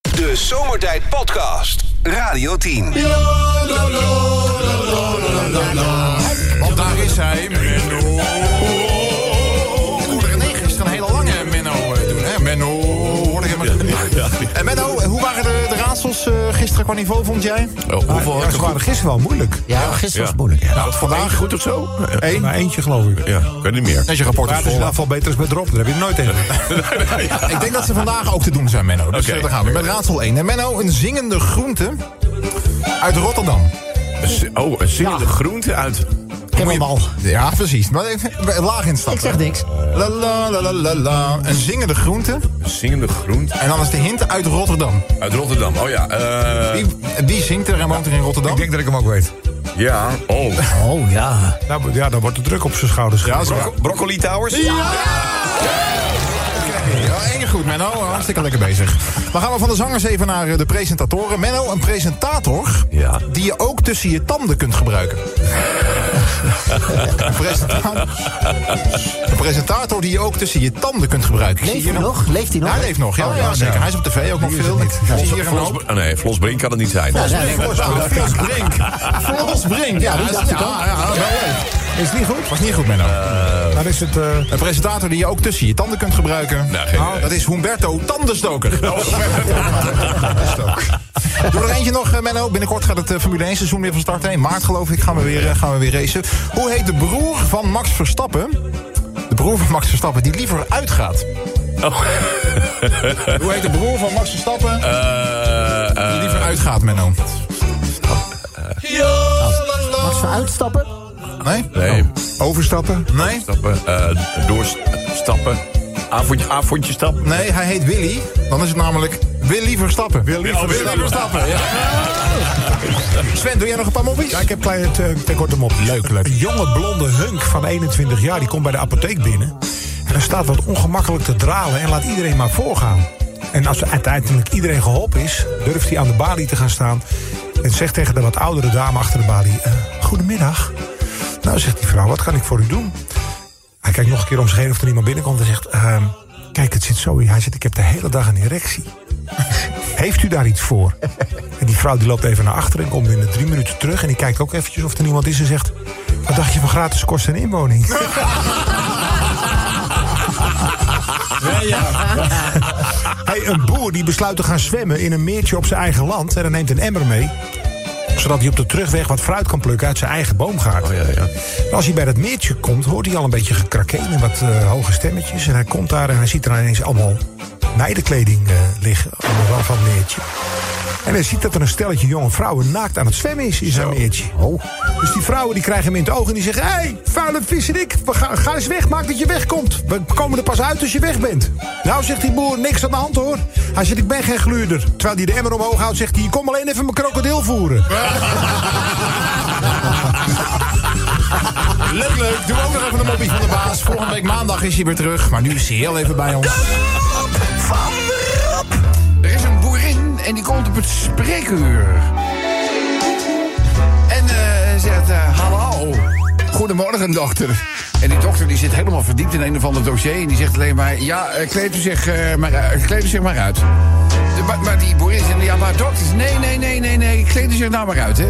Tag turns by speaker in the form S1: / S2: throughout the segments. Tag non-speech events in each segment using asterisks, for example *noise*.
S1: De Zomertijd Podcast. Radio 10.
S2: Want daar is hij, Menno. Goede René is een hele lange Menno eh, doen, hè? Menno, hoorde je maar. En Menno, hoe waren de, de raadsels eh, gisteren qua niveau, vond jij? Ah,
S3: hoeveel
S4: Ja, ze waren gisteren wel moeilijk.
S3: Ja, gisteren was
S5: Ja.
S3: het moeilijk. hè?
S2: Nou, vandaag
S5: Goed of zo?
S2: één.
S4: Maar eentje geloof ik.
S5: Ja, ik weet niet meer.
S2: Deze rapport is
S4: Maar het is
S2: vol.
S4: in afval beter als met Rob. Daar heb je het
S2: *laughs*
S4: nooit tegen.
S2: Ik denk dat ze vandaag ook te doen zijn, Menno. Dus
S5: Oké.
S2: eh, daar gaan we. Met raadsel 1. En Menno, een zingende groente uit Rotterdam.
S5: S- Oh, een zingende groente uit.
S3: Kemmerbal.
S2: Ja, precies. Maar even laag
S3: Ik
S2: instappen.
S3: zeg niks.
S2: La la la la la la. Een zingende groente.
S5: Een zingende groente
S2: En dan is de hint uit Rotterdam.
S5: uit Rotterdam. Oh ja, eh.
S2: Wie, wie zingt er en woont er in Rotterdam?
S4: Ik denk dat ik hem ook weet.
S5: ja. Oh.
S3: Oh ja.
S4: Nou, ja, dan wordt de druk op zijn schouders
S2: Ja,
S4: gelegd.
S2: zo.
S5: Bro- broccoli Towers?
S2: Ja, één goed, Menno. Hartstikke lekker bezig. Dan gaan we van de zangers even naar eh, de presentatoren. Menno, een presentator
S5: Ja.
S2: die je ook tussen je tanden kunt gebruiken. een, presentator, een presentator die je ook tussen je tanden kunt gebruiken. Ik zie
S3: Leeft
S2: hier
S3: hij
S2: een-
S3: nog? Leeft hij nog?
S2: Ja, hij leeft nog. Ja,
S3: Oh,
S2: ja,
S3: ja.
S2: zeker. Hij is op tv ook nog
S4: Die is
S2: veel.
S4: het niet.
S2: Ik zie hier een
S5: Flos,
S2: hoop-
S5: Ah, nee, Flos Brink kan het niet zijn.
S3: Ja, nee, nee.
S2: Flos- ah, Flos Brink. Flos Brink. Ja,
S3: die
S2: dat
S3: dacht ik ook.
S2: Is niet goed? Was niet goed, Menno.
S4: Dan is het... eh,
S2: Een presentator die je ook tussen je tanden kunt gebruiken.
S5: Nou, geen idee.
S2: dat is Humberto Tandenstoker. Oh, *laughs* Tandenstoker. Doe er eentje nog, eh, Menno. Binnenkort gaat het eh, Formule 1 seizoen weer van start. heen. In maart geloof ik gaan we, weer, eh, gaan we weer racen. Hoe heet de broer van Max Verstappen? De broer van Max Verstappen die liever uitgaat.
S5: Oh.
S2: Hoe heet de broer van Max Verstappen
S5: Eh,
S2: die
S5: eh,
S2: liever uitgaat, Menno?
S3: Max van uitstappen.
S2: Nee? Oh.
S5: nee.
S4: overstappen.
S2: Nee?
S5: Stappen. eh, doorstappen. Avondje, avondje stappen.
S2: Nee, hij heet Willy. Dan is het namelijk Willy Verstappen. Willy
S5: Oh, Willy
S2: Verstappen, ja. Sven, doe jij nog een paar moppies?
S4: Ja, ik heb klein, eh, ten korte mop. Leuk, leuk. Een jonge blonde hunk van 21 jaar, die komt bij de apotheek binnen. En hij staat wat ongemakkelijk te dralen en laat iedereen maar voorgaan. En als uiteindelijk iedereen geholpen is, durft hij aan de balie te gaan staan... en zegt tegen de wat oudere dame achter de balie... eh, goedemiddag. Nou, zegt die vrouw, wat kan ik voor u doen? Hij kijkt nog een keer om zich heen of er iemand binnenkomt en zegt... ehm, kijk, het zit zo in. Hij zegt, ik heb de hele dag een erectie. Heeft u daar iets voor? En die vrouw die loopt even naar achteren en komt binnen drie minuten terug... en die kijkt ook eventjes of er iemand is en zegt... wat dacht je van gratis kost en inwoning? Hey, een boer die besluit te gaan zwemmen in een meertje op zijn eigen land... en hij neemt een emmer mee zodat hij op de terugweg wat fruit kan plukken uit zijn eigen boomgaard.
S5: Oh, ja, ja.
S4: En als hij bij dat meertje komt, hoort hij al een beetje gekrakeen en wat eh, hoge stemmetjes. En hij komt daar en hij ziet er ineens allemaal meidenkleding eh, liggen op de rand van het meertje. En hij ziet dat er een stelletje jonge vrouwen naakt aan het zwemmen is in zijn meertje.
S2: Oh.
S4: Dus die vrouwen die krijgen hem in het oog en die zeggen... Hé, hey, vuile vis en ik, we ga, ga eens weg, maak dat je wegkomt. We komen er pas uit als je weg bent. Nou, zegt die boer, niks aan de hand hoor. Hij zegt, ik ben geen gluurder. Terwijl hij de emmer omhoog houdt, zegt hij... je kom alleen even mijn krokodil voeren.
S2: *laughs* Leuk, leuk. Doe ook nog even een moppie van de baas. Volgende week maandag is hij weer terug. Maar nu is hij heel even bij ons.
S6: Er is een boerin en die komt op het spreekuur. En eh, zegt, eh, hallo, goedemorgen dokter. En die dokter die zit helemaal verdiept in een of ander dossier... en die zegt alleen maar, ja, eh, kleed u zich, eh, maar, uit- kleed u zich maar uit. De- maar, maar die boerin zegt, ja, maar dokter, nee, nee, nee, nee, nee, kleed u zich nou maar uit, hè.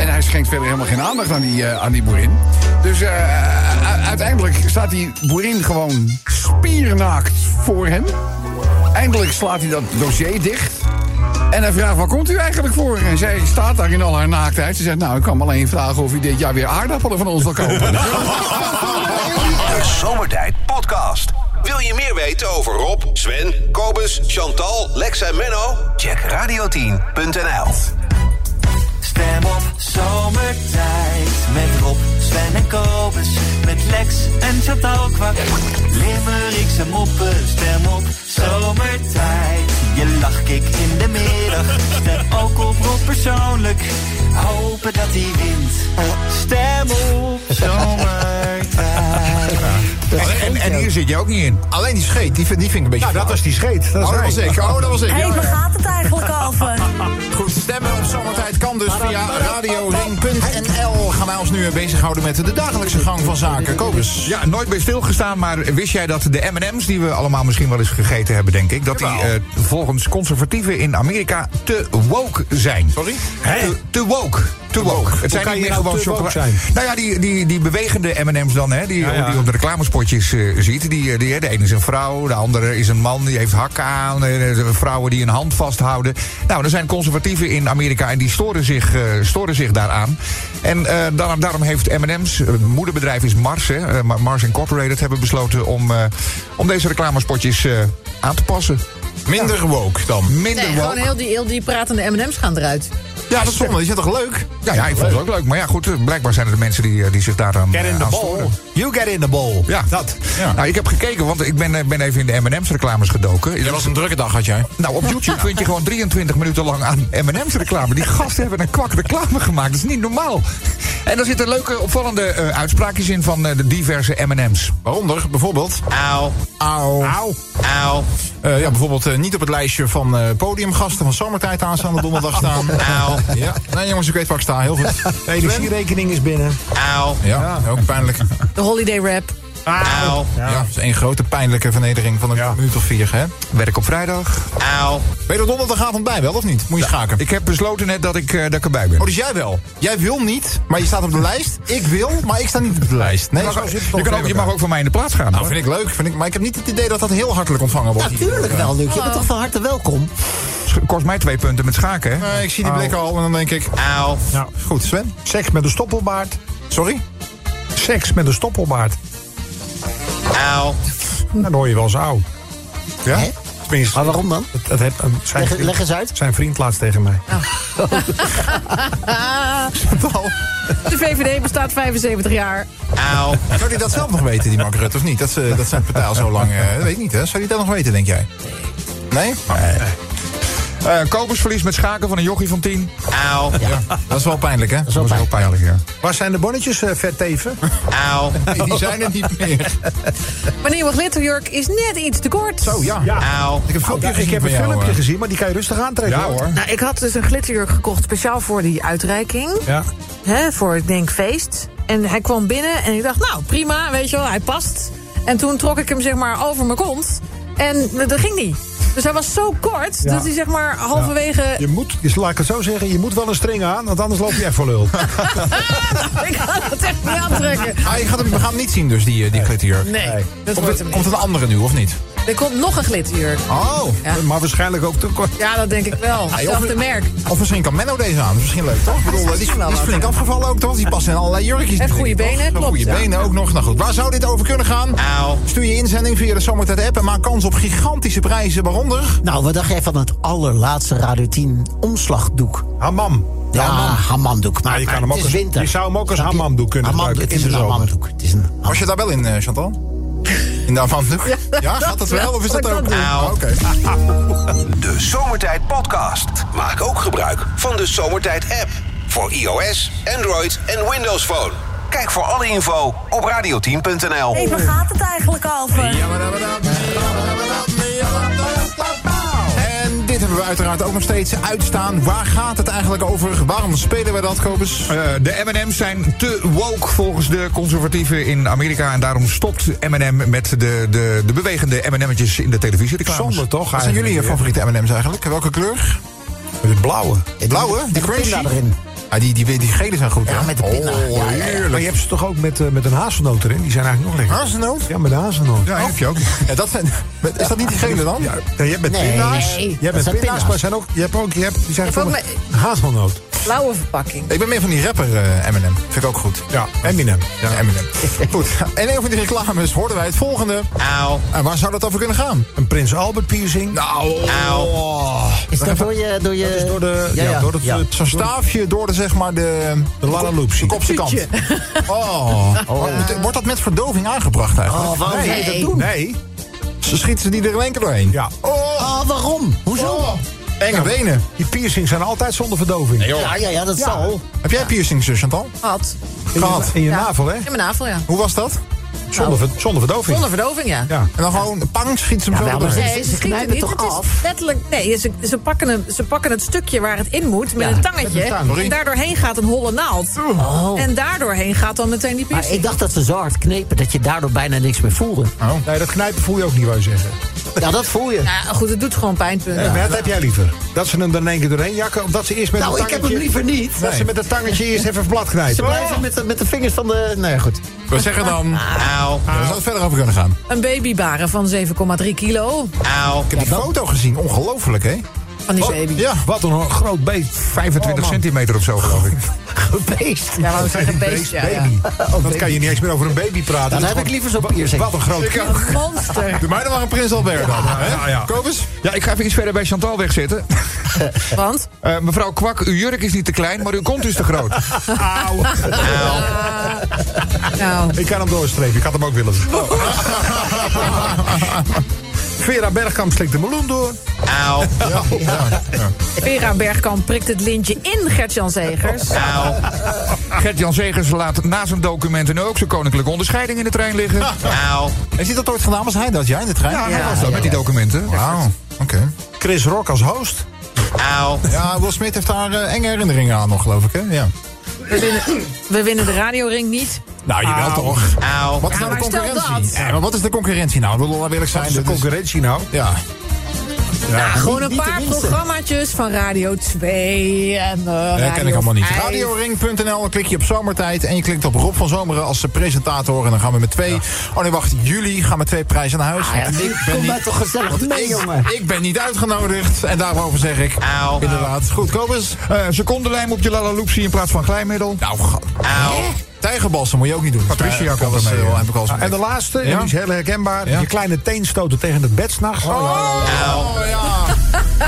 S6: En hij schenkt verder helemaal geen aandacht aan die, eh, aan die boerin. Dus eh, u- uiteindelijk staat die boerin gewoon spiernaakt voor hem... Eindelijk slaat hij dat dossier dicht. En hij vraagt, waar komt u eigenlijk voor? En zij staat daar in al haar naaktheid. Ze zegt, nou, ik kwam alleen vragen of u dit jaar weer aardappelen van ons wil kopen.
S1: De Zomertijd Podcast. Wil je meer weten over Rob, Sven, Kobus, Chantal, Lex en Menno? Check radio10.nl.
S7: Stem op zomertijd met Rob, Sven en Kobus, met Lex en Chantal Kwak. Limericks en moppen, stem op zomertijd. Je lachkick in de middag, stem ook op Rob persoonlijk. Hopen dat hij wint. Stem op zomertijd.
S2: En, en hier zit je ook niet in. Alleen die scheet, die vind, die vind ik
S8: Nou,
S2: een beetje
S4: Ja, dat
S2: flauw.
S4: was die scheet. Dat is
S2: Oh, dat
S4: hij.
S2: was ik. Oh, dat was ik.
S8: Hé,
S2: Ja,
S8: waar
S2: ja.
S8: gaat het eigenlijk over?
S2: Goed, stemmen op zomertijd kan dus via radioring.nl gaan wij ons nu bezighouden met de dagelijkse gang van zaken. Kobus.
S8: Ja, nooit bij stilgestaan, maar wist jij dat de M&M's... die we allemaal misschien wel eens gegeten hebben, denk ik... dat die
S2: Jawel.
S8: eh, volgens conservatieven in Amerika te woke zijn.
S2: Sorry?
S8: Te, te woke. Te woke. Het zijn
S4: kan
S8: niet
S4: je
S8: meer
S4: nou
S8: gewoon
S4: te
S8: chocola.
S4: woke zijn?
S8: Nou ja, die, die, die bewegende M&M's dan, hè, die,
S4: ja.
S8: die je op de reclamespotjes eh, ziet. Die, eh, die, de ene is een vrouw, de andere is een man, die heeft hakken aan. eh, er zijn Vrouwen die een hand vasthouden. Nou, er zijn conservatieven in Amerika en die storen zich, eh, storen zich daaraan. En eh, daarom, daarom heeft M&M's, eh, het moederbedrijf is Mars, hè, eh, Ma- Mars Incorporated... hebben besloten om, eh, om deze reclamespotjes eh, aan te passen.
S2: Minder woke dan.
S8: Minder
S9: Nee,
S8: woke.
S9: gewoon heel die, heel die pratende M&M's gaan eruit.
S2: Ja, dat is zonde. Is dat toch leuk?
S8: Ja, ja, ik vond het ook leuk. Maar ja, goed, eh, blijkbaar zijn er de mensen die, eh, die zich daaraan
S4: Get in
S8: eh,
S4: the
S8: aan
S4: ball.
S8: storen.
S2: You get in the ball.
S8: Ja, dat.
S2: Ja.
S8: Nou, ik heb gekeken, want ik ben, eh, ben even in de M&M's reclames gedoken.
S5: Het was een drukke dag, had jij.
S8: Nou, op YouTube vind je gewoon 23 minuten lang aan M&M's reclame. Die gasten hebben een kwak reclame gemaakt. Dat is niet normaal. En daar zitten leuke, opvallende eh, uitspraakjes in van eh, de diverse M&M's.
S2: Waaronder bijvoorbeeld.
S1: Auw,
S2: Auw.
S1: auw,
S2: Eh, ja, bijvoorbeeld eh, niet op het lijstje van eh, podiumgasten van zomertijd aanstaande donderdag staan.
S1: auw,
S2: Ja, nee jongens, ik weet waar ik sta. Heel goed. Hey,
S4: De
S2: Sven?
S4: rekening is binnen.
S1: auw,
S2: Ja, ook pijnlijk.
S9: De holiday rap.
S1: auw,
S2: Ja, dat is één grote pijnlijke vernedering van een minuut of vier, hè?
S8: Werk op vrijdag.
S1: auw.
S2: Ben je er donderdagavond bij wel of niet? Moet je schaken.
S8: Ik heb besloten net dat ik, eh, dat ik erbij ben.
S2: Oh, dus jij wel? Jij wil niet, maar je staat op de lijst. Ik wil, maar ik sta niet op de lijst. Nee, zo zit het
S8: je, kan ook, je mag ook voor mij in de plaats gaan.
S2: Nou,
S8: hoor.
S2: vind ik leuk, vind ik, maar ik heb niet het idee dat dat heel hartelijk ontvangen wordt.
S3: Natuurlijk wel, Luc. Je bent toch van harte welkom?
S8: Kost mij twee punten met schaken, hè?
S2: Eh, ik zie die blikken al en dan denk ik...
S1: Auw.
S4: Ja.
S2: Goed, Sven.
S4: Seks met een stoppelbaard.
S2: Sorry?
S4: Seks met een stoppelbaard.
S1: Auw.
S4: Dan hoor je wel eens auw.
S2: Ja?
S3: Hè?
S4: Tenminste,
S3: Maar waarom dan?
S4: dat, dat heb, een- zijn,
S3: Leg,
S4: vriend,
S3: leg eens uit.
S4: zijn vriend laatst tegen mij.
S9: De VVD bestaat 75 jaar.
S1: Auw.
S2: Zou hij dat zelf nog weten, die Mark Rutte, of niet? Dat, ze, dat zijn partij al zo lang... eh, weet ik niet, hè? Zou hij dat nog weten, denk jij? Nee?
S8: Eh Kobus verliest met schaken van een jochie van 10.
S1: Auw.
S2: Dat is wel pijnlijk, hè?
S3: is wel
S8: Heel pijnlijk, ja.
S4: Waar zijn de bonnetjes, eh verteven?
S1: Auw.
S2: Die zijn er
S4: *laughs*
S2: niet meer.
S9: Mijn nieuwe glitterjurk is net iets te kort.
S2: Zo, ja.
S1: Auw.
S2: Ik heb een filmpje
S4: Oh, ik
S2: gezien
S4: heb
S2: van
S4: een
S2: jou,
S4: filmpje
S2: eh.
S4: gezien, maar die kan je rustig aantrekken.
S8: Ja hoor.
S9: Nou, ik had dus een glitterjurk gekocht speciaal voor die uitreiking.
S4: Ja.
S9: Hè, voor het Denkfeest. En hij kwam binnen en ik dacht, nou prima, weet je wel, hij past. En toen trok ik hem zeg maar over mijn kont. En eh, dat ging niet. Dus hij was zo kort
S4: Ja.
S9: dat hij zeg maar halverwege...
S4: Je moet, dus laat ik het zo zeggen, je moet wel een string aan, want anders loop je echt voor lul.
S9: *laughs* Ik kan het echt niet aantrekken.
S2: Ah, je gaat hem, we gaan hem niet zien, dus, die, eh, die glitterjurk.
S9: Nee, dat
S2: Komt
S9: wordt
S2: er,
S9: hem
S2: komt
S9: niet.
S2: er een andere nu, of niet?
S9: Er komt nog een glitterjurk.
S2: Oh.
S4: maar waarschijnlijk ook te kort.
S9: Ja, dat denk ik wel. Hetzelfde merk.
S2: Of misschien kan Menno deze aan. Dat is misschien leuk, toch? Ik bedoel, eh, die is, die is flink afgevallen ook, toch? Die past in allerlei jurkjes.
S9: Heeft goede
S2: natuurlijk,
S9: benen,
S2: toch?
S9: klopt,
S2: Goede
S9: ja.
S2: benen ook nog. Nou goed, waar zou dit over kunnen gaan?
S1: Auw.
S2: Stuur je inzending via de Zomertijd app en maak kans op gigantische prijzen, waaronder...
S3: Nou, wat dacht jij van het allerlaatste Radio 10 omslagdoek?
S4: Hammam.
S3: Ja, hamamdoek. Maar,
S4: Ja, je, kan hem ook
S3: maar het is
S4: als,
S3: winter.
S4: je zou hem ook als
S3: Snap je?
S4: hammamdoek kunnen
S3: Hamam-
S4: gebruiken
S3: Het is
S4: in
S3: een
S4: de zomer.
S3: hamamdoek. Het is een
S2: Was je daar wel in, eh,
S3: *laughs*
S2: Chantal? In de avonddoek? Ja, gaat dat wel of is dat
S9: dat
S2: ook?
S9: doen.
S2: Ah, Oké.
S1: De Zomertijd Podcast. Maak ook gebruik van de Zomertijd app. Voor iOS, Android en Windows Phone. Kijk voor alle info op radioteam.nl.
S10: Hé, waar gaat het eigenlijk over?
S2: En dit hebben we uiteraard ook nog steeds uitstaan. Waar gaat het eigenlijk over? Waarom spelen we dat, Kobus?
S8: Eh, de M&M's zijn te woke volgens de conservatieven in Amerika. En daarom stopt M&M met de, de, de bewegende M&M'tjes in de televisiereclames.
S4: Zonde toch
S2: Wat zijn jullie
S4: eigenlijk,
S2: je
S4: hè?
S2: favoriete M&M's eigenlijk? Welke kleur?
S4: De blauwe.
S2: Blauwe? Die
S3: Met de
S2: crunchy?
S3: pinda erin.
S2: Ah, die, die, die, gele zijn goed,
S3: Ja,
S2: hè?
S3: met de pinda.
S2: Oh,
S3: Ja, ja, ja.
S2: heerlijk.
S4: Maar je hebt ze toch ook met, eh, met een hazelnoot erin? Die zijn eigenlijk nog lekker.
S2: Hazelnoot?
S4: Ja, met de hazelnoot.
S8: Ja, heb je ook.
S2: Ja, dat zijn, is dat niet die gele dan?
S4: Ja, je hebt met
S3: Nee,
S4: pinda's. Je
S9: nee,
S3: dat
S4: hebt met
S3: zijn
S4: pinda's,
S3: pinda's.
S4: maar zijn ook, je hebt ook, je hebt, die zijn
S9: Je hebt
S4: van
S9: ook
S4: hazelnoot.
S9: Blauwe verpakking.
S2: Ik ben meer van die rapper eh, Eminem. Vind ik ook goed.
S4: Ja, Eminem.
S2: Ja, Eminem. *laughs* Goed. En een van die reclames hoorden wij het volgende.
S1: Auw.
S2: En waar zou dat over kunnen gaan?
S4: Een Prins Albert piercing.
S2: Nou,
S3: Is dat door je... Door je...
S4: Dat is door de, ja, door het, eh,
S2: zo'n staafje door de, zeg maar, de...
S4: de
S2: De
S4: Lalaloopsie.
S2: kopse kant.
S4: *laughs*
S2: Oh. Moet- Wordt dat met verdoving aangebracht eigenlijk?
S3: Oh, waarom zou je dat doen?
S4: Nee.
S2: Ze schieten ze die er in één keer doorheen.
S4: Ja. Nou,
S2: Oh.
S4: Ah,
S3: Oh, waarom? Hoezo?
S2: Oh. Enge benen.
S4: Die piercings zijn altijd zonder verdoving.
S3: Ja, ja, ja, dat
S4: Ja.
S3: zal.
S2: Heb jij piercings, eh, Chantal?
S9: Had.
S4: In je, in je navel, hè?
S9: In mijn navel, ja.
S2: Hoe was dat?
S4: Zonder,
S3: Nou.
S4: ver- zonder verdoving.
S9: Zonder verdoving, ja.
S4: Ja.
S2: En dan gewoon pang, schiet ze hem
S3: Ja,
S2: zo
S3: wel,
S2: erbij.
S3: maar-
S9: Nee,
S3: Ze
S9: ze schieten
S3: knijpen
S9: niet.
S3: toch
S9: Het is
S3: af?
S9: letterlijk. Nee, ze, ze, pakken hem, ze pakken het stukje waar het in moet met
S3: Ja,
S9: een
S2: met
S9: tangetje.
S2: een tang.
S9: en daardoorheen gaat een holle naald.
S3: Oh.
S9: En daardoorheen gaat dan meteen die
S3: Maar
S9: piercing.
S3: ik dacht dat ze zo hard knepen dat je daardoor bijna niks meer voelde.
S4: Nee, dat knijpen voel je ook niet, wou je zeggen.
S3: Ja, dat voel je.
S9: Ja, goed, het doet gewoon pijnpunten.
S4: En Wat heb jij liever? Dat ze hem dan in één keer doorheen jakken? Of dat ze eerst met
S3: Nou,
S4: een
S3: ik heb
S4: tangetje...
S3: hem liever niet.
S4: Dat ze met een
S3: *laughs*
S4: tangetje eerst even plat knijpen.
S3: Ze blijven met de, met de vingers van de... Nou ja, goed.
S5: We zeggen dan. Auw,
S2: Ja, Daar zou het verder over kunnen gaan.
S9: Een babybaren van 7,3 kilo.
S5: auw.
S2: Ik heb die foto gezien, ongelooflijk hè?
S9: Van die baby.
S2: Oh, Ja,
S4: Wat een groot beest.
S8: 25
S4: Oh, man.
S8: centimeter of zo, geloof ik.
S3: *laughs* Beest.
S9: Ja, wou ik zeggen, beest. Ja, ja.
S4: *laughs* Oh, Baby. Dat kan je niet eens meer over een baby praten.
S3: Dan
S4: Dat
S3: heb
S4: is
S3: ik liever zo'n
S4: gewoon-
S3: piercing.
S4: Wat een groot kind.
S9: Een monster.
S2: Doe mij dan maar een Prins Albert dan. hè?
S4: ja, ja.
S2: Kobus?
S8: Ja, ik ga even iets verder bij Chantal wegzitten. *laughs*
S9: Want
S8: Eh, mevrouw Kwak, uw jurk is niet te klein, maar uw kont is te groot.
S3: *laughs*
S9: nou,
S4: Ik kan hem doorstrepen. Ik had hem ook
S2: *laughs*
S4: willen. Vera Bergkamp slikt de meloen door.
S5: Auw,
S9: Vera Bergkamp prikt het lintje in Gert-Jan Zegers.
S5: auw,
S8: Gert-Jan Zegers laat na zijn documenten nu ook zijn koninklijke onderscheiding in de trein liggen. Ja,
S5: auw.
S2: Heeft hij dat ooit gedaan? Was hij dat? Jij in de trein?
S8: hij was dat met die documenten.
S2: Wauw, oké.
S4: Chris Rock als host.
S5: Auw.
S2: Ja, Will Smith heeft daar eh, enge herinneringen aan nog, geloof ik, hè? Ja.
S9: We winnen, we winnen de radioring niet.
S2: Nou, jawel toch.
S5: Auw.
S2: Wat is
S9: Ja,
S2: nou de
S9: maar stel
S2: concurrentie?
S9: dat.
S2: Ja, maar wat is de concurrentie nou? Ik wil wel eerlijk zijn.
S4: Zijn de
S2: dit is-
S4: concurrentie nou?
S2: Ja.
S9: Nou, Gewoon een
S3: niet de
S9: paar
S3: minste.
S9: programmaatjes van Radio 2 en eh
S2: Dat
S9: Radio
S2: ken ik allemaal niet.
S9: 5.
S2: Radioring.nl, dan klik je op zomertijd en je klikt op Rob van Zomeren als eh, presentator. En dan gaan we met twee... Oh nee, wacht, jullie gaan met twee prijzen naar huis. want ik ben
S3: Kom
S2: niet...
S3: maar toch gezellig
S2: want
S3: mee,
S2: ik,
S3: jongen.
S2: ik ben niet uitgenodigd en daarover zeg ik...
S5: Auw.
S2: Inderdaad. Goed, Kobus.
S8: Eh secondenlijm op je lalaloopsie in plaats van glijmiddel.
S2: Nou, ga-
S5: Auw.
S2: tijgerbalsen moet je ook niet doen.
S8: Patricia
S2: Eh,
S8: kan
S2: dat
S8: er mee,
S2: eh,
S8: ja.
S2: heb ik al eens
S4: En de laatste, en
S2: Ja.
S4: die is heel herkenbaar.
S2: Ja.
S4: Je kleine teen stoten tegen het bed s'nachts.
S2: Oh ja.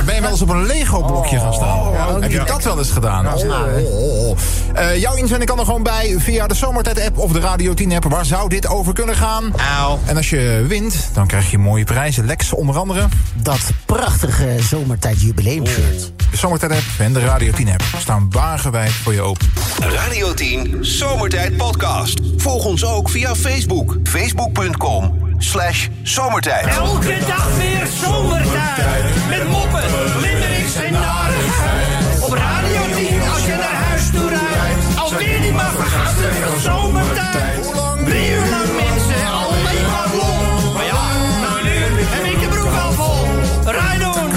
S2: Ben je wel eens op een Lego-blokje gaan staan? Heb je dat wel eens gedaan? Oh, oh. Eh, jouw inzending kan er gewoon bij via de Zomertijd-app of de Radio 10-app. Waar zou dit over kunnen gaan?
S5: Auw.
S2: En als je wint, dan krijg je mooie prijzen. Lex onder andere.
S3: Dat prachtige zomertijd jubileum-shirt.
S2: Oh, De Zomertijd-app en de Radio 10-app staan wagenwijd voor je open.
S1: Radio 10 Zomertijd Podcast. Volg ons ook via Facebook. Facebook.com slash zomertijd.
S7: Elke dag weer zomertijd. Met moppen, limmerings en narigheid. Op Radio 10 als je naar huis toe rijdt. Alweer die maar vergasten zomertijd. Drie uur lang mensen, alleen maar lol. Maar ja, nou nu heb ik de broek al vol. Rijdoen,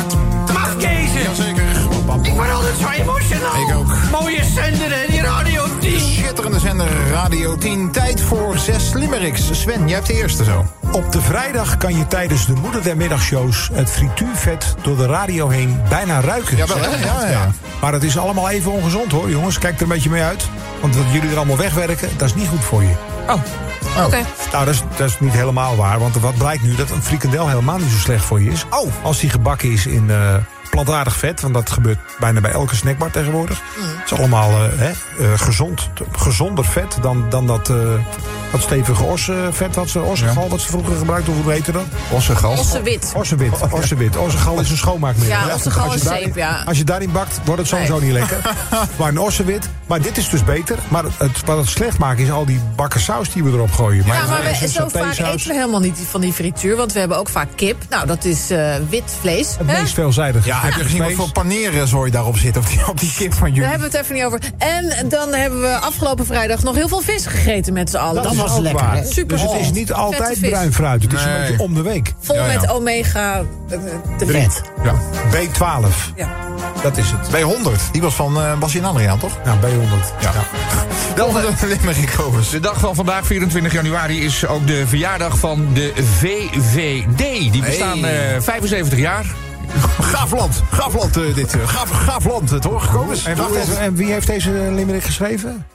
S7: mafkezen. Ik word altijd zo emotional.
S2: Ik ook.
S7: Mooie zender en die Radio 10.
S2: Schitterende zender Radio 10. Tijd voor zes limericks. Sven, jij hebt de eerste zo.
S4: Op de vrijdag kan je tijdens de moeder der middagshows het frituurvet door de radio heen bijna ruiken.
S2: Jawel, hè?
S4: Zeg je
S2: Ja,
S4: dat?
S2: ja.
S4: Maar het is allemaal even ongezond hoor, jongens. Kijk er een beetje mee uit. Want wat jullie er allemaal wegwerken, dat is niet goed voor je.
S9: Oké.
S4: Nou, dat is, dat is niet helemaal waar. Want wat blijkt nu? Dat een frikandel helemaal niet zo slecht voor je is. Oh, als die gebakken is in eh, plantaardig vet. Want dat gebeurt bijna bij elke snackbar tegenwoordig.
S2: Mm.
S4: Het is allemaal eh, hè, eh, gezond, gezonder vet dan, dan dat, eh, dat stevige ossenvet. Wat ze, ossengal wat ze vroeger gebruikten. Hoe heette dat?
S8: Ossegal.
S9: Osse wit.
S4: Ossewit, ossewit. Ossegal is een schoonmaakmiddel.
S9: Ja, ossegal
S4: Als je
S9: is
S4: daarin-
S9: zeep, ja.
S4: Als je daarin bakt, wordt het sowieso niet lekker.
S9: *laughs*
S4: Maar een ossewit. Maar dit is dus beter. Maar het, wat het slecht maakt, is al die bakken saus die we erop gooien.
S9: Ja, maar
S4: het is
S9: we,
S4: een
S9: zo vaak
S4: satésaus.
S9: eten we helemaal niet van die frituur. Want we hebben ook vaak kip. Nou, dat is eh, wit vlees.
S4: Het
S9: hè?
S4: meest veelzijdig.
S2: Ja, heb je gezien wat voor paneren zooi daarop zit? Op die, op die kip van
S9: Daar
S2: jullie?
S9: hebben we het even niet over. En dan hebben we afgelopen vrijdag nog heel veel vis gegeten met z'n allen.
S3: Dat
S9: is
S3: was
S9: ook
S3: lekker,
S9: waar.
S3: hè?
S9: Super
S4: Dus het is
S9: gezond.
S4: niet
S9: Vette
S4: altijd
S9: vis.
S4: bruin fruit. Het is een
S2: Nee.
S4: beetje om de week.
S9: Vol
S2: Ja, ja.
S9: met omega eh, de vet.
S4: Ja. B12.
S9: Ja.
S4: Dat is het.
S2: Bij 100. Die was van eh Basje en Adriaan, toch?
S4: Nou, B100.
S2: *laughs* Ja. Dan de limerick, Kobus.
S8: De dag van vandaag, 24 januari, is ook de verjaardag van de VVD. Die bestaan
S2: Hey.
S8: eh, 75 jaar.
S2: Gaaf land. Gaaf land, eh, dit. eh, Gaaf, gaaf land, eh, toch? Kobus.
S4: En,
S2: Gaaf
S4: wie-
S2: land.
S4: en wie heeft deze limerick geschreven?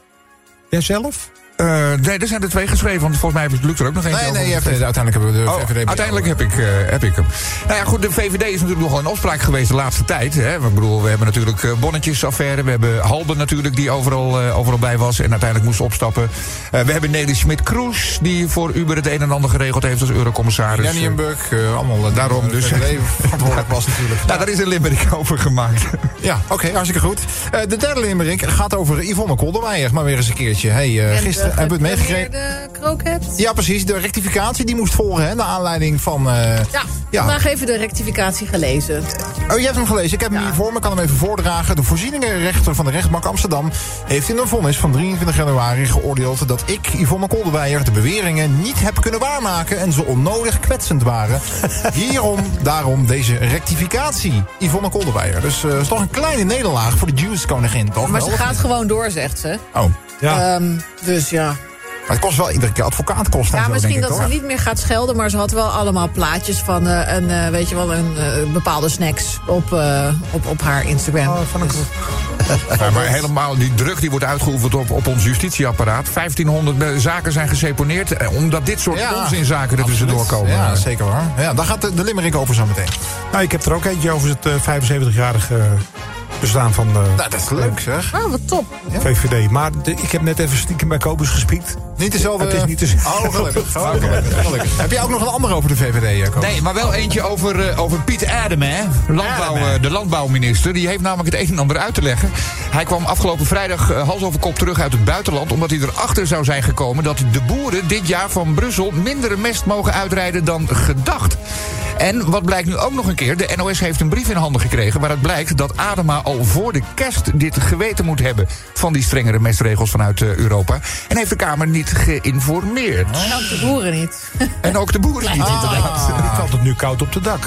S4: Jijzelf?
S8: Eh, nee, er zijn er twee geschreven, want volgens mij heeft Luc er ook nog eentje
S2: Nee,
S8: over.
S2: nee, je hebt, eh, uiteindelijk hebben we de
S8: Oh,
S2: VVD bij-
S8: uiteindelijk heb ik, eh, heb ik hem. Nou ja, goed, de VVD is natuurlijk nogal in opspraak geweest de laatste tijd. Hè. Ik bedoel, we hebben natuurlijk eh, bonnetjesaffaire. We hebben Halben natuurlijk, die overal, eh, overal bij was en uiteindelijk moest opstappen. Eh, we hebben Nelly Schmidt-Kroes, die voor Uber het een en ander geregeld heeft als eurocommissaris. *laughs*
S2: Dennienburg, eh, allemaal eh,
S8: Daarom dus.
S2: VVD verantwoordelijk was natuurlijk.
S8: Nou, daar is een limerick over gemaakt.
S2: Ja, oké, hartstikke goed. Eh, de derde limerick gaat over Yvonne Kolderweijer. Maar weer eens een keertje. Hey, eh,
S9: Kent,
S2: hebben we het meegekregen?
S9: De kroket.
S2: Ja, precies. De rectificatie die moest volgen, hè? Naar aanleiding van... eh,
S11: Ja,
S2: Ja.
S11: vandaag even de rectificatie gelezen.
S2: Oh, je hebt hem gelezen. Ik heb hem hier voor me. Ik kan hem even voordragen. De voorzieningenrechter van de rechtbank Amsterdam heeft in een vonnis van 23 januari geoordeeld dat ik, Yvonne Kolderweijer, de beweringen niet heb kunnen waarmaken en ze onnodig kwetsend
S11: *laughs*
S2: waren. Hierom, daarom deze rectificatie, Yvonne Kolderweijer. Dus eh, is toch een kleine nederlaag voor de Juice koningin, toch?
S11: Maar
S2: Wel,
S11: ze
S2: of
S11: gaat
S2: niet?
S11: gewoon door, zegt ze.
S2: Oh.
S11: Ehm, dus ja.
S2: Maar het kost wel iedere keer advocaatkosten. en
S11: Ja,
S2: zo,
S11: misschien
S2: denk ik,
S11: dat ze
S2: hoor.
S11: niet meer gaat schelden, maar ze had wel allemaal plaatjes van eh, een, eh, weet je wel, een eh, bepaalde snacks op, eh, op, op haar Instagram. Dus-
S8: Ja, maar helemaal die druk die wordt uitgeoefend op, op ons justitieapparaat. 1500 be- zaken zijn geseponeerd. eh, Omdat dit soort
S2: Ja,
S8: onzinzaken er tussendoor
S2: absoluut.
S8: komen.
S11: eh.
S2: Ja, zeker waar. Ja, daar gaat de, de limmerik over zo meteen.
S4: Nou, ik heb er ook eentje over het eh, 75-jarige bestaan van eh, de
S2: Nou, dat is leuk zeg.
S9: Oh, wat top.
S4: VVD. Maar de- ik heb net even stiekem bij Kobus gespiekt.
S2: Niet dezelfde...
S4: Het is niet dezelfde. *laughs*
S2: Oh, gelukkig. Oh, gelukkig. gelukkig. Heb jij ook nog een ander over de VVD, Jacob?
S8: Nee, maar wel eentje over, eh, over Piet Adem, hè? Landbouw, eh, de landbouwminister. Die heeft namelijk het een en ander uit te leggen. Hij kwam afgelopen vrijdag eh, hals over kop terug uit het buitenland. Omdat hij erachter zou zijn gekomen dat de boeren dit jaar van Brussel minder mest mogen uitrijden dan gedacht. En wat blijkt nu ook nog een keer: de NOS heeft een brief in handen gekregen. waaruit blijkt dat Adema al voor de kerst dit geweten moet hebben. van die strengere mestregels vanuit eh, Europa. En heeft de Kamer niet geïnformeerd.
S11: En ook de boeren niet.
S8: En ook de boeren niet, inderdaad.
S4: Die valt het nu koud op de dak.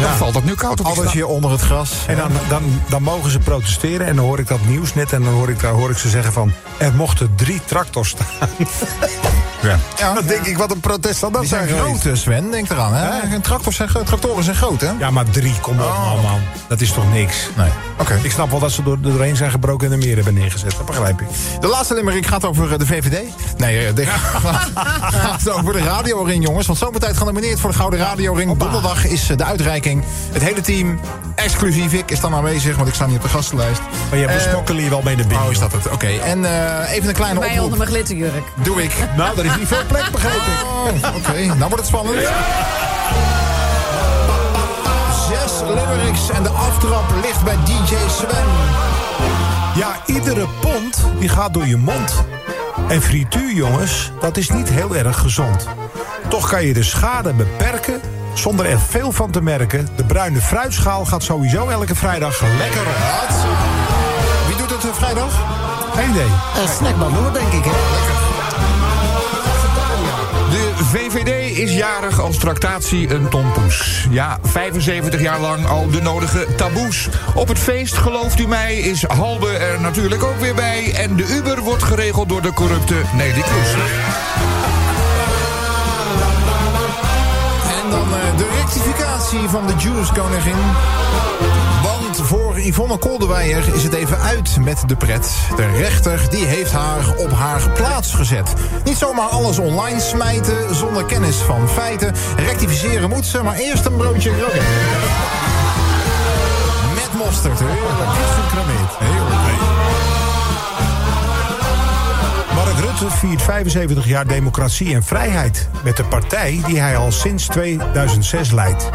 S8: Dan valt dat nu koud op de
S2: Alles hier onder het gras.
S4: En dan, dan, dan mogen ze protesteren. En dan hoor ik dat nieuws net. En dan hoor ik, daar hoor ik ze zeggen van... er mochten drie tractors staan. *laughs* Ja. dan denk ik, wat een protest zal dat
S2: Die
S4: zijn
S2: zijn groot,
S4: geweest.
S2: eh, Sven. Denk eraan, hè? Een Tractors zijn, gro- tractoren zijn groot, hè?
S4: Ja, maar drie, kom op nou man. Dat is toch niks?
S2: Nee. Oké.
S4: Ik snap wel dat ze door, er doorheen zijn gebroken en er meer hebben neergezet. Dat begrijp ik.
S2: De laatste limerick gaat over eh, de VVD. Nee, eh, dit *laughs* gaat over de radioring, jongens. Want zometeen genomineerd voor de Gouden Radioring. Donderdag is eh, de uitreiking. Het hele team, exclusief ik, is dan aanwezig. Want ik sta niet op de gastenlijst. Eh,
S4: Maar je hebt smokkel hier wel mee naar binnen.
S2: Oh, is dat het? Oké. En eh, even een kleine
S11: Mij onder
S2: oproep.
S11: mijn glitterjurk.
S2: Doe ik.
S4: Nou, daar is niet veel plek, begrijp ik.
S2: Oh, Oké, nou wordt het spannend. Zes limericks en de aftrap ligt bij DJ Sven.
S4: Ja, iedere pond die gaat door je mond. En frituur, jongens, dat is niet heel erg gezond. Toch kan je de schade beperken zonder er veel van te merken. De bruine fruitschaal gaat sowieso elke vrijdag lekker op.
S2: Wat? Wie doet het eh, vrijdag?
S4: Geen idee.
S3: Eh, snackbar Noord, denk ik, hè?
S8: De VVD is jarig als tractatie een tompoes. Ja, 75 jaar lang al de nodige taboes. Op het feest, gelooft u mij, is Halbe er natuurlijk ook weer bij. En de Uber wordt geregeld door de corrupte Nelly Kroes.
S2: En dan eh, de rectificatie van de Juice Koningin. Want voor Yvonne Kolderweijer is het even uit met de pret. De rechter die heeft haar op haar plaats gezet. Niet zomaar alles online smijten zonder kennis van feiten. Rectificeren moet ze, maar eerst een broodje rocket. Met mosterd, hè? Echt gecrameerd. Heerlijk.
S4: Mark Rutte viert 75 jaar democratie en vrijheid. Met de partij die hij al sinds 2006 leidt.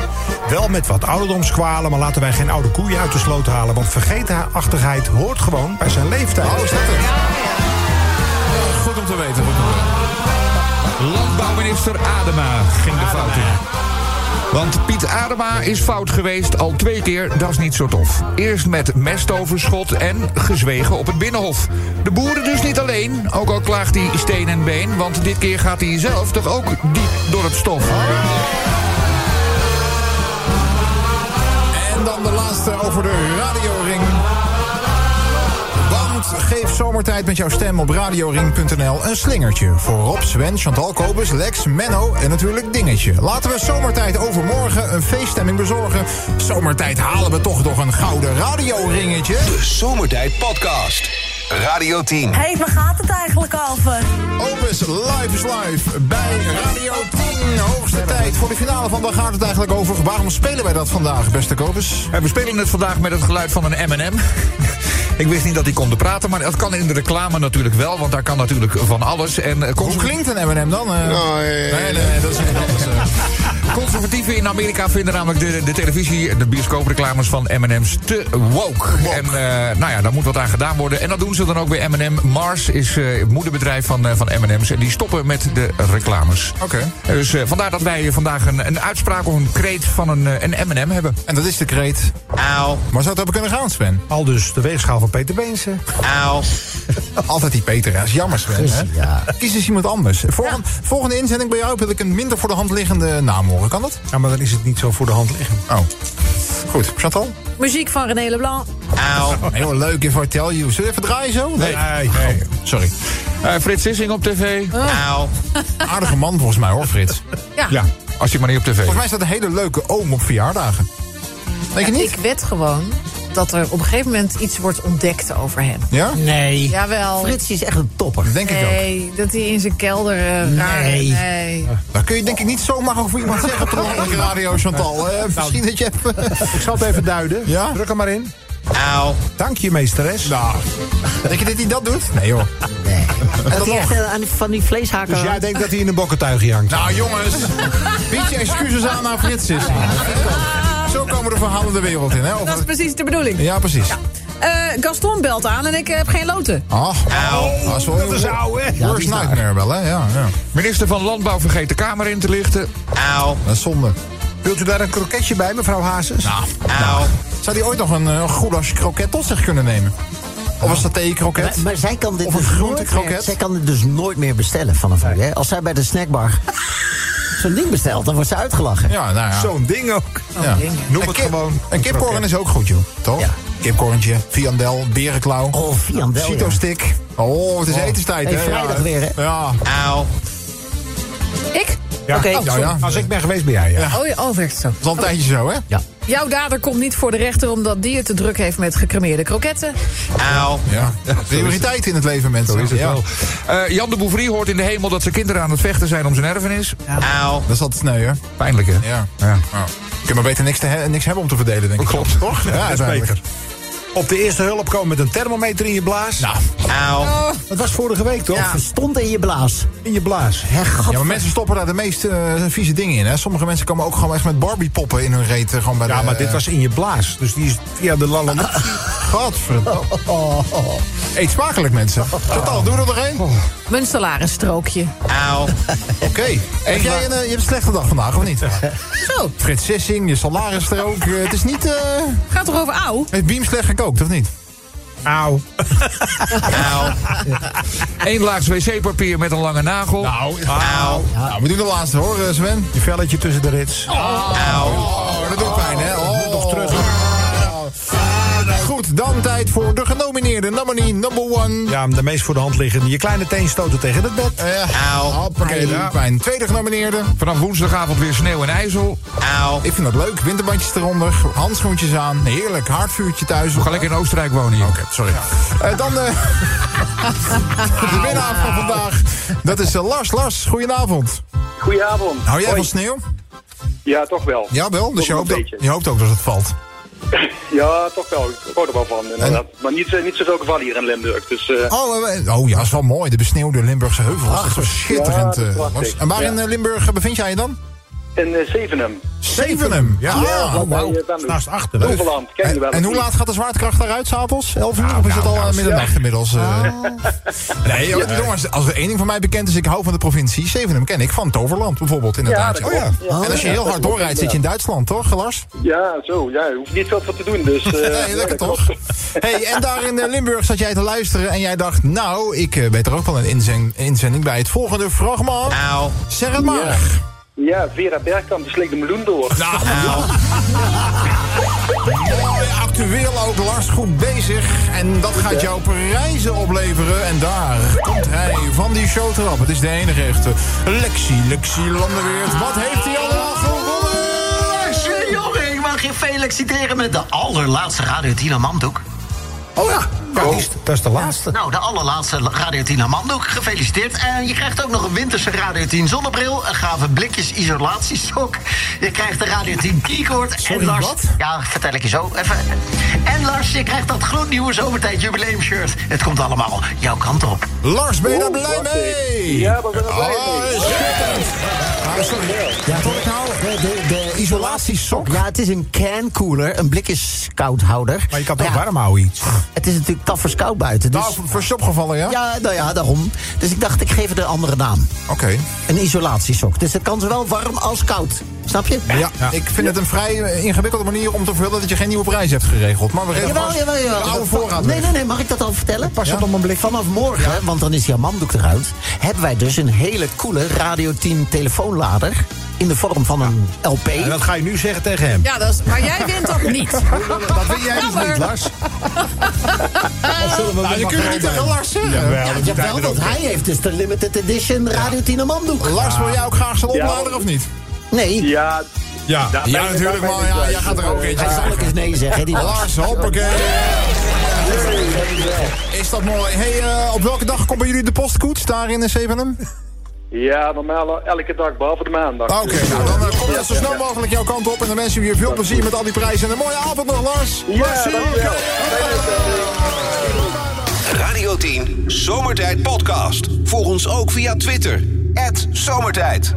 S4: Wel met wat ouderdomskwalen, maar laten wij geen oude koeien uit de sloot halen. Want vergetenachtigheid hoort gewoon bij zijn leeftijd.
S2: Oh, is dat het? Goed om te weten. Goed om te weten.
S8: Landbouwminister Adema ging de fout in. Want Piet Adema is fout geweest al twee keer, dat is niet zo tof. Eerst met mestoverschot en gezwegen op het binnenhof. De boeren dus niet alleen, ook al klaagt hij steen en been... want dit keer gaat hij zelf toch ook diep door het stof.
S2: En dan de laatste over de radioring. Want geef zomertijd met jouw stem op radioring.nl een slingertje. Voor Rob, Sven, Chantal Kobus, Lex, Menno en natuurlijk Dingetje. Laten we zomertijd overmorgen een feeststemming bezorgen. Zomertijd halen we toch nog een gouden radioringetje.
S1: De Zomertijd Podcast. Radio 10.
S10: Hé, hey, waar gaat het eigenlijk over?
S2: Opus Live is Live bij Radio 10. Hoogste tijd voor de finale van Waar gaat het eigenlijk over? Waarom spelen wij dat vandaag, beste Kobus?
S8: En we spelen het vandaag met het geluid van een M&M. *laughs* Ik wist niet dat die konden praten, maar dat kan in de reclame natuurlijk wel... want daar kan natuurlijk van alles. En eh,
S2: Hoe
S8: consument-
S2: klinkt een M&M dan? eh? nee, nee, nee, dat is niet anders. eh.
S8: Conservatieven in Amerika vinden namelijk de, de televisie, de bioscoopreclames van M&M's te woke. En eh, nou ja, daar moet wat aan gedaan worden. En dat doen ze dan ook bij M&M. Mars is eh, het moederbedrijf van, eh, van M&M's. En die stoppen met de reclames.
S2: Oké.
S8: Dus eh, vandaar dat wij vandaag een, een uitspraak of een kreet van een, eh, een M&M hebben.
S2: En dat is de kreet.
S8: Auw.
S2: Maar zou het hebben kunnen gaan, Sven?
S4: Al dus de weegschaal van Peter Beense.
S8: Auw.
S2: Altijd die Peter, hè. is jammer Sven. Hè?
S3: Guus, ja.
S2: Kies eens iemand anders. Volgende, volgende inzending bij jou wil ik een minder voor de hand liggende naam horen. Kan dat?
S4: Ja, maar dan is het niet zo voor de hand liggen.
S2: Oh. Goed, Chantal?
S9: Muziek van René Leblanc.
S2: *laughs* Heel leuk, if I tell you. Zullen we even draaien zo? Nee. Oh,
S4: Nee, nee.
S2: Sorry.
S8: Eh, Frits Sissing op tv. Auw.
S2: Aardige man volgens mij hoor, Frits. Volgens
S8: Ja, als je maar niet op tv
S2: mij is dat een hele leuke oom op verjaardagen. Denk je niet?
S11: Ik weet gewoon dat er op een gegeven moment iets wordt ontdekt over hem.
S2: Ja?
S3: Nee.
S11: Jawel.
S3: Frits is echt een topper.
S2: Denk ik ook.
S11: Nee, dat hij in zijn kelder eh, raar...
S3: Nee.
S11: nee.
S2: Dat kun je denk ik niet zomaar over iemand zeggen op de landelijke radio, Chantal.
S11: Nou,
S2: Eh, misschien dat je even...
S4: Ik zal het even duiden.
S2: Ja?
S4: Druk hem maar in. Dank je, meesteres.
S2: Nou, denk je dat hij dat doet? Nee, joh.
S3: Dat hij echt eh, aan die- van die vleeshaken...
S4: Dus jij denkt dat hij in een bokkentuigje hangt.
S2: Nou, jongens. Bied je excuses aan aan Frits is. Zo komen de verhalen de wereld in, hè?
S9: Dat is
S2: Over...
S9: precies de bedoeling.
S2: Ja, precies.
S9: Eh, Gaston belt aan en ik heb geen loten.
S2: Ah, dat is wel
S4: Dat is ouwe.
S2: Ja, Worst nightmare wel, hè? Ja, ja.
S8: Minister van Landbouw vergeet de Kamer in te lichten. Auw.
S2: Dat is zonde.
S4: Wilt u daar een kroketje bij, mevrouw Hazes?
S2: Nou,
S8: Auw.
S2: zou die ooit nog een eh, goulash kroket tot zich kunnen nemen? Of een saté kroket?
S3: Maar, maar zij kan dit
S2: Of een
S3: dus nooit
S2: groentekroket.
S3: meer, zij kan dit dus nooit meer bestellen vanaf nu. Hè? Als zij bij de
S7: *laughs*
S3: snackbar zo'n ding bestelt, dan wordt ze uitgelachen.
S2: Ja, nou ja.
S4: Zo'n ding ook.
S2: Ja.
S4: Noem
S2: Een
S4: het
S2: kip-
S4: gewoon
S2: Een
S4: een
S2: kipkorn
S4: kroket.
S2: is ook goed, joh. Toch?
S3: Ja.
S2: Kipkorntje, viandel, berenklauw.
S3: Oh, viandel, ja.
S2: Cito-stick. Oh, het is etenstijd,
S3: Hey,
S2: hè? Ja.
S3: vrijdag weer, hè?
S2: Ja.
S9: Ik?
S4: Ja.
S3: Oké.
S2: Nou ja,
S4: Als ik ben geweest, ben jij. Ja.
S9: Oh, ja, oh, werkt het zo.
S2: Het is al een tijdje zo, hè?
S3: Ja.
S9: Jouw dader komt niet voor de rechter omdat die het te druk heeft met gecremeerde kroketten.
S2: Ja. Prioriteit in het leven, mensen.
S8: Zo is het
S2: Ja.
S8: wel. Eh, Jan de Bouvrie hoort in de hemel dat zijn kinderen aan het vechten zijn om zijn erfenis.
S2: Dat is altijd sneu, hè?
S8: Pijnlijk, hè?
S2: Ja.
S8: Ja.
S2: Nou, je kunt maar beter niks, te he- niks hebben om te verdelen, denk ik.
S8: Klopt.
S2: Toch? Ja,
S4: dat is
S2: uiteindelijk.
S4: beter. Op de eerste hulp komen met een thermometer in je blaas.
S2: Nou,
S4: Dat was vorige week, toch?
S3: Of verstond in je blaas.
S4: In je blaas.
S3: Hergat.
S2: ja, maar mensen stoppen daar de meest eh, vieze dingen in. Hè? Sommige mensen komen ook gewoon echt met Barbie-poppen in hun reet. eh, Gewoon bij
S4: Ja,
S2: de,
S4: maar dit was in je blaas. Dus die is via de lallen.
S2: Godverdomme. *laughs* Eet smakelijk, mensen. Chantal, doe er nog één. Oké.
S9: Mijn salarisstrookje.
S2: Heb jij een, eh, je hebt een slechte dag vandaag, of niet?
S9: Zo,
S2: Frits Sissing, je salarisstrook. eh, Het is niet... eh,
S9: gaat toch over ouw?
S2: heeft Beam slecht gekookt, of niet?
S4: Auw.
S8: Eén laag wc-papier met een lange nagel.
S2: Nou, nou, we doen de laatste hoor, eh, Sven.
S4: Je velletje tussen de rits.
S2: Oh, dat doet pijn, hè? Oh, nog terug. Goed, dan tijd voor de genomineerde nominee number one.
S4: Ja, de meest voor de hand liggende. Je kleine teen stoten tegen het bed.
S2: Eh, Hoppakee, dat doet pijn. Tweede genomineerde.
S8: Vanaf woensdagavond weer sneeuw en ijzel.
S2: Ik vind dat leuk. Winterbandjes eronder, handschoentjes aan. Heerlijk, haardvuurtje thuis.
S8: Ga lekker in Oostenrijk wonen hier.
S2: Oké, sorry. Eh, dan eh, *laughs* de winnaar van vandaag. Dat is eh, Lars. Lars, goedenavond.
S12: Goedenavond.
S4: Nou.
S2: Hou jij van sneeuw?
S12: Ja, toch wel.
S2: Ja, wel. Dus je
S12: Toch
S2: hoopt,
S12: een
S2: ook,
S12: beetje.
S2: je hoopt ook dat het valt.
S12: Ja, toch wel. Ik hoor er wel van, inderdaad. Maar niet, eh, niet zoveel gevallen hier in Limburg. Dus eh,
S2: Oh, eh, eh, oh ja, is wel mooi. De besneeuwde Limburgse heuvels. dat is zo schitterend.
S12: Ja, dat is
S2: eh,
S12: prachtig.
S2: Lars. en waar in
S12: Ja.
S2: eh, Limburg eh, bevind jij je dan?
S12: in eh, Zevenum.
S2: Zevenum. Ja. Ah,
S12: Bij, eh, Venlo.
S4: Naast achter. hè?
S12: Overland, ken je wel. Ah,
S2: En, en
S12: of
S2: hoe
S12: niet?
S2: laat gaat de zwaartekracht daaruit, s'avonds? 11 uur?
S4: Nou,
S2: of is het
S4: nou,
S2: al
S4: nou,
S2: eh, middernacht inmiddels? eh?
S12: Ah.
S2: *laughs* Nee, joh, jongens, als er één ding van mij bekend is, ik hou van de provincie. Zevenum ken ik van Toverland bijvoorbeeld, inderdaad.
S12: Ja, dat klopt.
S2: Oh, ja. En als je
S12: Ja, dat
S2: heel hard
S12: klopt,
S2: doorrijdt, zit je in Duitsland, toch, Lars?
S12: Ja, zo. Ja, je hoeft niet veel voor te doen.
S4: *laughs*
S12: Dus, eh,
S2: *laughs*
S12: ja,
S2: Nee, lekker
S12: dat
S2: toch?
S12: klopt.
S2: Hey, en daar in eh, Limburg zat jij te luisteren en jij dacht... nou, ik eh, weet er ook wel een inzen- inzending bij het volgende fragment. Zeg het maar.
S12: Ja. Ja, Vera Bergkamp die sleept de meloen door. *laughs*
S2: Nou, Mooi, actueel ook, Lars, goed bezig. En dat gaat jou prijzen opleveren. En daar komt hij van die showtrap. Het is de enige echte Lexi, Lexi Landerweert. Wat heeft hij allemaal gewonnen?
S13: Hey, jongen, ik mag je feliciteren met de allerlaatste Radio Tina Manddoek.
S4: Oh ja. Ja, die is- Dat is de laatste.
S13: Nou, de allerlaatste Radio Tina Manddoek, gefeliciteerd. En je krijgt ook nog een winterse Radio 10 zonnebril, een gave blikjes isolatiesok. Je krijgt de Radio 10 keycord.
S2: Sorry,
S13: en Lars,
S2: wat?
S13: Ja, vertel ik je zo even. En Lars, je krijgt dat gloednieuwe zomertijd jubileum shirt. Het komt allemaal jouw kant op.
S2: Lars, ben je daar blij mee? Oh,
S12: Ja, we zijn er blij mee.
S2: Ja, toch ik nou?
S3: De, de, de isolatiesok. Ja, het is een can cooler, een blikjes koudhouder.
S4: Maar je kan het ook warm houden iets.
S3: Het is natuurlijk tafers koud buiten. Dus...
S2: Nou, voor- voor shopgevallen, ja?
S3: Ja, nou ja, daarom. Dus ik dacht, ik geef het een andere naam.
S2: Oké.
S3: Een isolatiesok. Dus het kan zowel warm als koud. Snap je?
S2: Ja, ik vind het een vrij eh, ingewikkelde manier om te verhullen dat je geen nieuwe prijs hebt geregeld. Maar we regelen
S3: Jawel,
S2: vast
S3: jawel, jawel.
S2: de oude voorraad.
S3: Nee,
S2: weg.
S3: nee, nee, mag ik dat al vertellen?
S2: Pas het op
S3: een blik. Vanaf morgen, want dan is jouw mamdoek eruit... hebben wij dus een hele coole Radio 10 telefoonlader... in de vorm van een LP.
S4: En dat ga je nu zeggen tegen hem.
S11: Ja, dat is, maar jij wint dat niet.
S4: *laughs* Dat wil jij dus
S11: Jammer.
S4: niet, Lars. Of zullen we
S2: Nou, je
S4: maar
S2: kunt het
S4: gewoon
S2: niet
S4: bij-
S2: tegen Lars zeggen.
S4: Jawel,
S3: Ja,
S4: dat doet hij
S3: jawel,
S4: er
S3: want
S4: ook
S3: hij
S4: bij.
S3: heeft dus de limited edition Radio 10 een mamdoek.
S2: Lars, wil jij ook graag zo'n oplader of niet?
S3: Nee.
S12: Ja,
S4: Ja,
S12: daar ben
S4: ja
S12: ik-
S4: natuurlijk,
S12: daar ben
S4: maar
S12: ik
S4: ja,
S12: bij.
S4: jij gaat er ook eentje
S3: Hij zal ook eens nee zeggen, hè, die Lars.
S2: Lars, hoppakee. Is dat mooi. Hey, eh, op welke dag komt bij jullie de postkoets daar in Zevenum?
S12: ja, normaal eh, elke dag, behalve de maandag.
S2: Oké, nou, dan eh, komt dat zo snel mogelijk jouw kant op. En dan wensen we je veel plezier met al die prijzen. En een mooie avond nog, Lars.
S12: Ja,
S2: Merci.
S12: dankjewel.
S1: Radio 10 Zomertijd Podcast. Volg ons ook via Twitter. Zomertijd.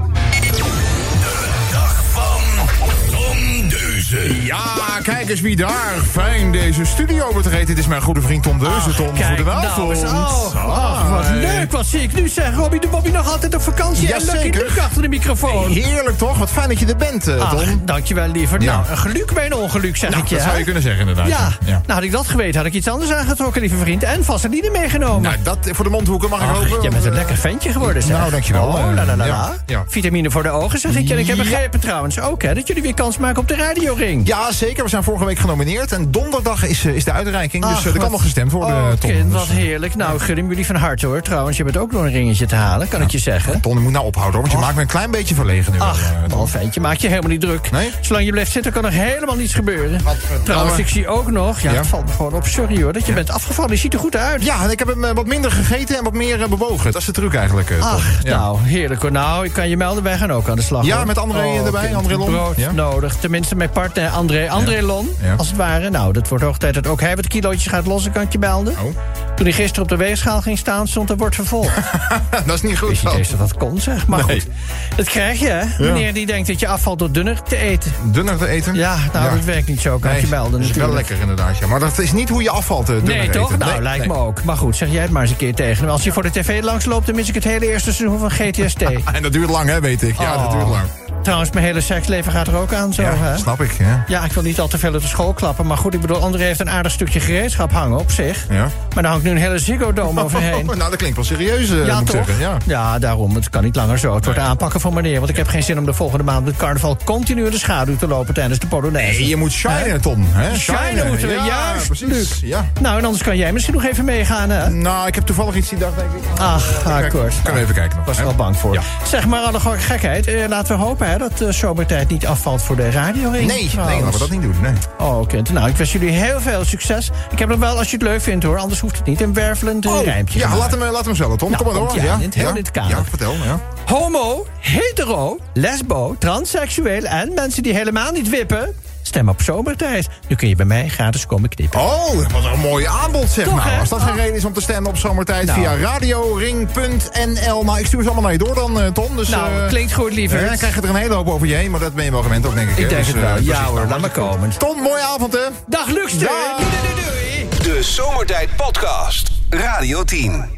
S2: Ja, kijk eens wie daar fijn deze studio betreedt. Dit is mijn goede vriend Tom Deuze. Tom, goedenavond.
S14: nou, oh, Ach, wat leuk, wat zie ik nu zeg. Robbie de Bobby nog altijd op vakantie en Lucky
S2: Jazeker.
S14: Luke achter de microfoon.
S2: Heerlijk toch? Wat fijn dat je er bent, eh,
S14: Ach,
S2: Tom.
S14: dankjewel liever.
S2: Ja.
S14: Nou, een geluk bij een ongeluk zeg
S2: Nou,
S14: ik je.
S2: dat zou
S14: hè?
S2: je kunnen zeggen inderdaad.
S14: Ja.
S2: Ja.
S14: nou had ik dat geweten, had ik iets anders aangetrokken, lieve vriend. En vaseline meegenomen.
S2: Nou, dat voor de mondhoeken mag ik
S14: Ach,
S2: hopen.
S14: jij bent een lekker ventje geworden, zeg.
S2: Nou, dankjewel.
S14: Oh,
S2: Eh,
S14: la la la
S2: ja,
S14: la.
S2: ja.
S14: Vitamine voor de ogen, zeg ik. En ik heb
S2: Ja.
S14: begrepen trouwens ook, hè, dat jullie weer kans maken op de radioring.
S2: Ja, zeker. We zijn vorige week genomineerd. En donderdag is, eh, is de uitreiking. dus
S14: Ach,
S2: eh, er kan
S14: wat-
S2: nog gestemd worden,
S14: Oh,
S2: Tom.
S14: kind,
S2: Dus,
S14: wat heerlijk. Nou, gun hem jullie van harte, hoor. Trouwens, je bent ook nog een ringetje te halen, kan ik je zeggen.
S2: Ton, je moet nou ophouden, hoor, want je maakt me een klein beetje verlegen nu.
S14: Ach,
S2: eh, Tom.
S14: man, ventje, maak je helemaal niet druk.
S2: Nee?
S14: Zolang je blijft zitten kan er helemaal niets gebeuren. Trouwens, ik zie ook nog... Ja,
S2: Ja?
S14: het valt me gewoon op. Sorry hoor, dat je bent afgevallen. Je ziet er goed uit.
S2: Ja, en ik heb hem eh, wat minder gegeten en wat meer eh, bewogen. Dat is de truc eigenlijk, eh, Tom.
S14: Ach,
S2: Ja.
S14: nou, heerlijk hoor. Nou, ik kan je melden, wij gaan ook aan de slag.
S2: Ja,
S14: hoor.
S2: met André eh, erbij,
S14: kind,
S2: André Lon.
S14: Oh, Brood
S2: Ja.
S14: nodig. Tenminste, mijn partner André. André Lon,
S2: Ja.
S14: als het ware. Nou, dat wordt hoog tijd dat ook hij wat kilootjes gaat lossen, kan ik je melden.
S2: Oh.
S14: Toen hij gisteren op de weegschaal ging staan, stond er wordt
S2: *laughs*
S14: vervolgd.
S2: *laughs* dat is niet goed.
S14: Wist je
S2: Tom.
S14: niet eens dat dat kon, zeg. Maar
S2: Nee.
S14: goed, dat krijg je, hè.
S2: Ja.
S14: Meneer die denkt dat je afvalt door dunner te eten.
S2: Dunner te eten?
S14: Ja, nou, dat werkt niet zo. Kan ik je melden
S2: Dat is wel
S14: natuurlijk.
S2: lekker inderdaad. Ja. Maar dat is niet hoe je afvalt, eh, dunner
S14: Nee, toch?
S2: eten.
S14: Nou,
S2: Nee,
S14: lijkt
S2: nee.
S14: me ook. Maar goed, zeg jij het maar eens een keer tegen hem. Als je voor de tv langsloopt, dan mis ik het hele eerste seizoen van
S2: *laughs*
S14: GTST.
S2: Ah, En dat duurt lang, hè, weet ik. Ja, dat
S14: Oh.
S2: duurt lang.
S14: Trouwens, mijn hele seksleven gaat er ook aan zo,
S2: Ja,
S14: hè?
S2: snap ik, ja.
S14: Ja, ik wil niet al te veel uit de school klappen. Maar goed, ik bedoel, André heeft een aardig stukje gereedschap hangen op zich.
S2: Ja.
S14: Maar daar hangt nu een hele ziggo-dome overheen.
S2: *laughs* nou, dat klinkt wel serieus, eh,
S14: Ja,
S2: moet ik
S14: toch?
S2: zeggen. Ja.
S14: daarom. Het kan niet langer zo. Het wordt aanpakken voor meneer. Want ik heb geen zin om de volgende maand met carnaval continu in de schaduw te lopen tijdens de Polonaise.
S2: Nee, je moet shinen, Tom. Hè?
S14: Shinen moeten we,
S2: ja,
S14: juist,
S2: precies. Ja.
S14: Nou, en anders kan jij misschien nog even meegaan, hè?
S2: Nou, ik heb toevallig iets die dag, denk ik.
S14: Ach, akkoord.
S2: Kunnen we even kijken nog.
S14: was
S2: hè?
S14: er wel bang voor.
S2: Ja.
S14: Zeg maar alle gewoon gekheid. eh, laten we hopen hè, dat de zomertijd niet afvalt voor de radio.
S2: Nee, nee, laten we dat niet doen. Nee.
S14: Oh, kind. Nou, ik wens jullie heel veel succes. Ik heb nog wel, als je het leuk vindt hoor, anders hoeft het niet. Een wervelend eh, rijmpje.
S2: Oh, ja,
S14: gemaakt.
S2: laat hem, eh, laat hem zelf, Tom.
S14: Nou,
S2: Kom maar door.
S14: komt hij aan in het- heel in het kader.
S2: ja, vertel. Ja.
S14: Homo, hetero, lesbo, transseksueel en mensen die helemaal niet wippen. Stem op zomertijd. Nu kun je bij mij gratis komen knippen.
S2: Oh, wat een mooi aanbod, zeg
S14: Toch,
S2: nou.
S14: hè? Ah.
S2: Als dat geen reden is om te stemmen op zomertijd
S14: Nou.
S2: via radioring.nl. Nou, ik stuur ze allemaal naar je door dan, eh, Tom. Dus,
S14: Nou,
S2: eh,
S14: klinkt goed, liever.
S2: Ja, dan krijg je er een hele hoop over je heen, maar dat ben je wel gewend ook, denk ik. hè?
S14: Ik denk
S2: Dus,
S14: het
S2: eh,
S14: wel.
S2: precies,
S14: Ja hoor,
S2: nou,
S14: laat maar komen.
S2: Tom, mooie avond, hè?
S14: Dag Luxter.
S2: Dag.
S14: Doei, doei, doei, doei.
S1: De Zomertijd Podcast. Radio 10.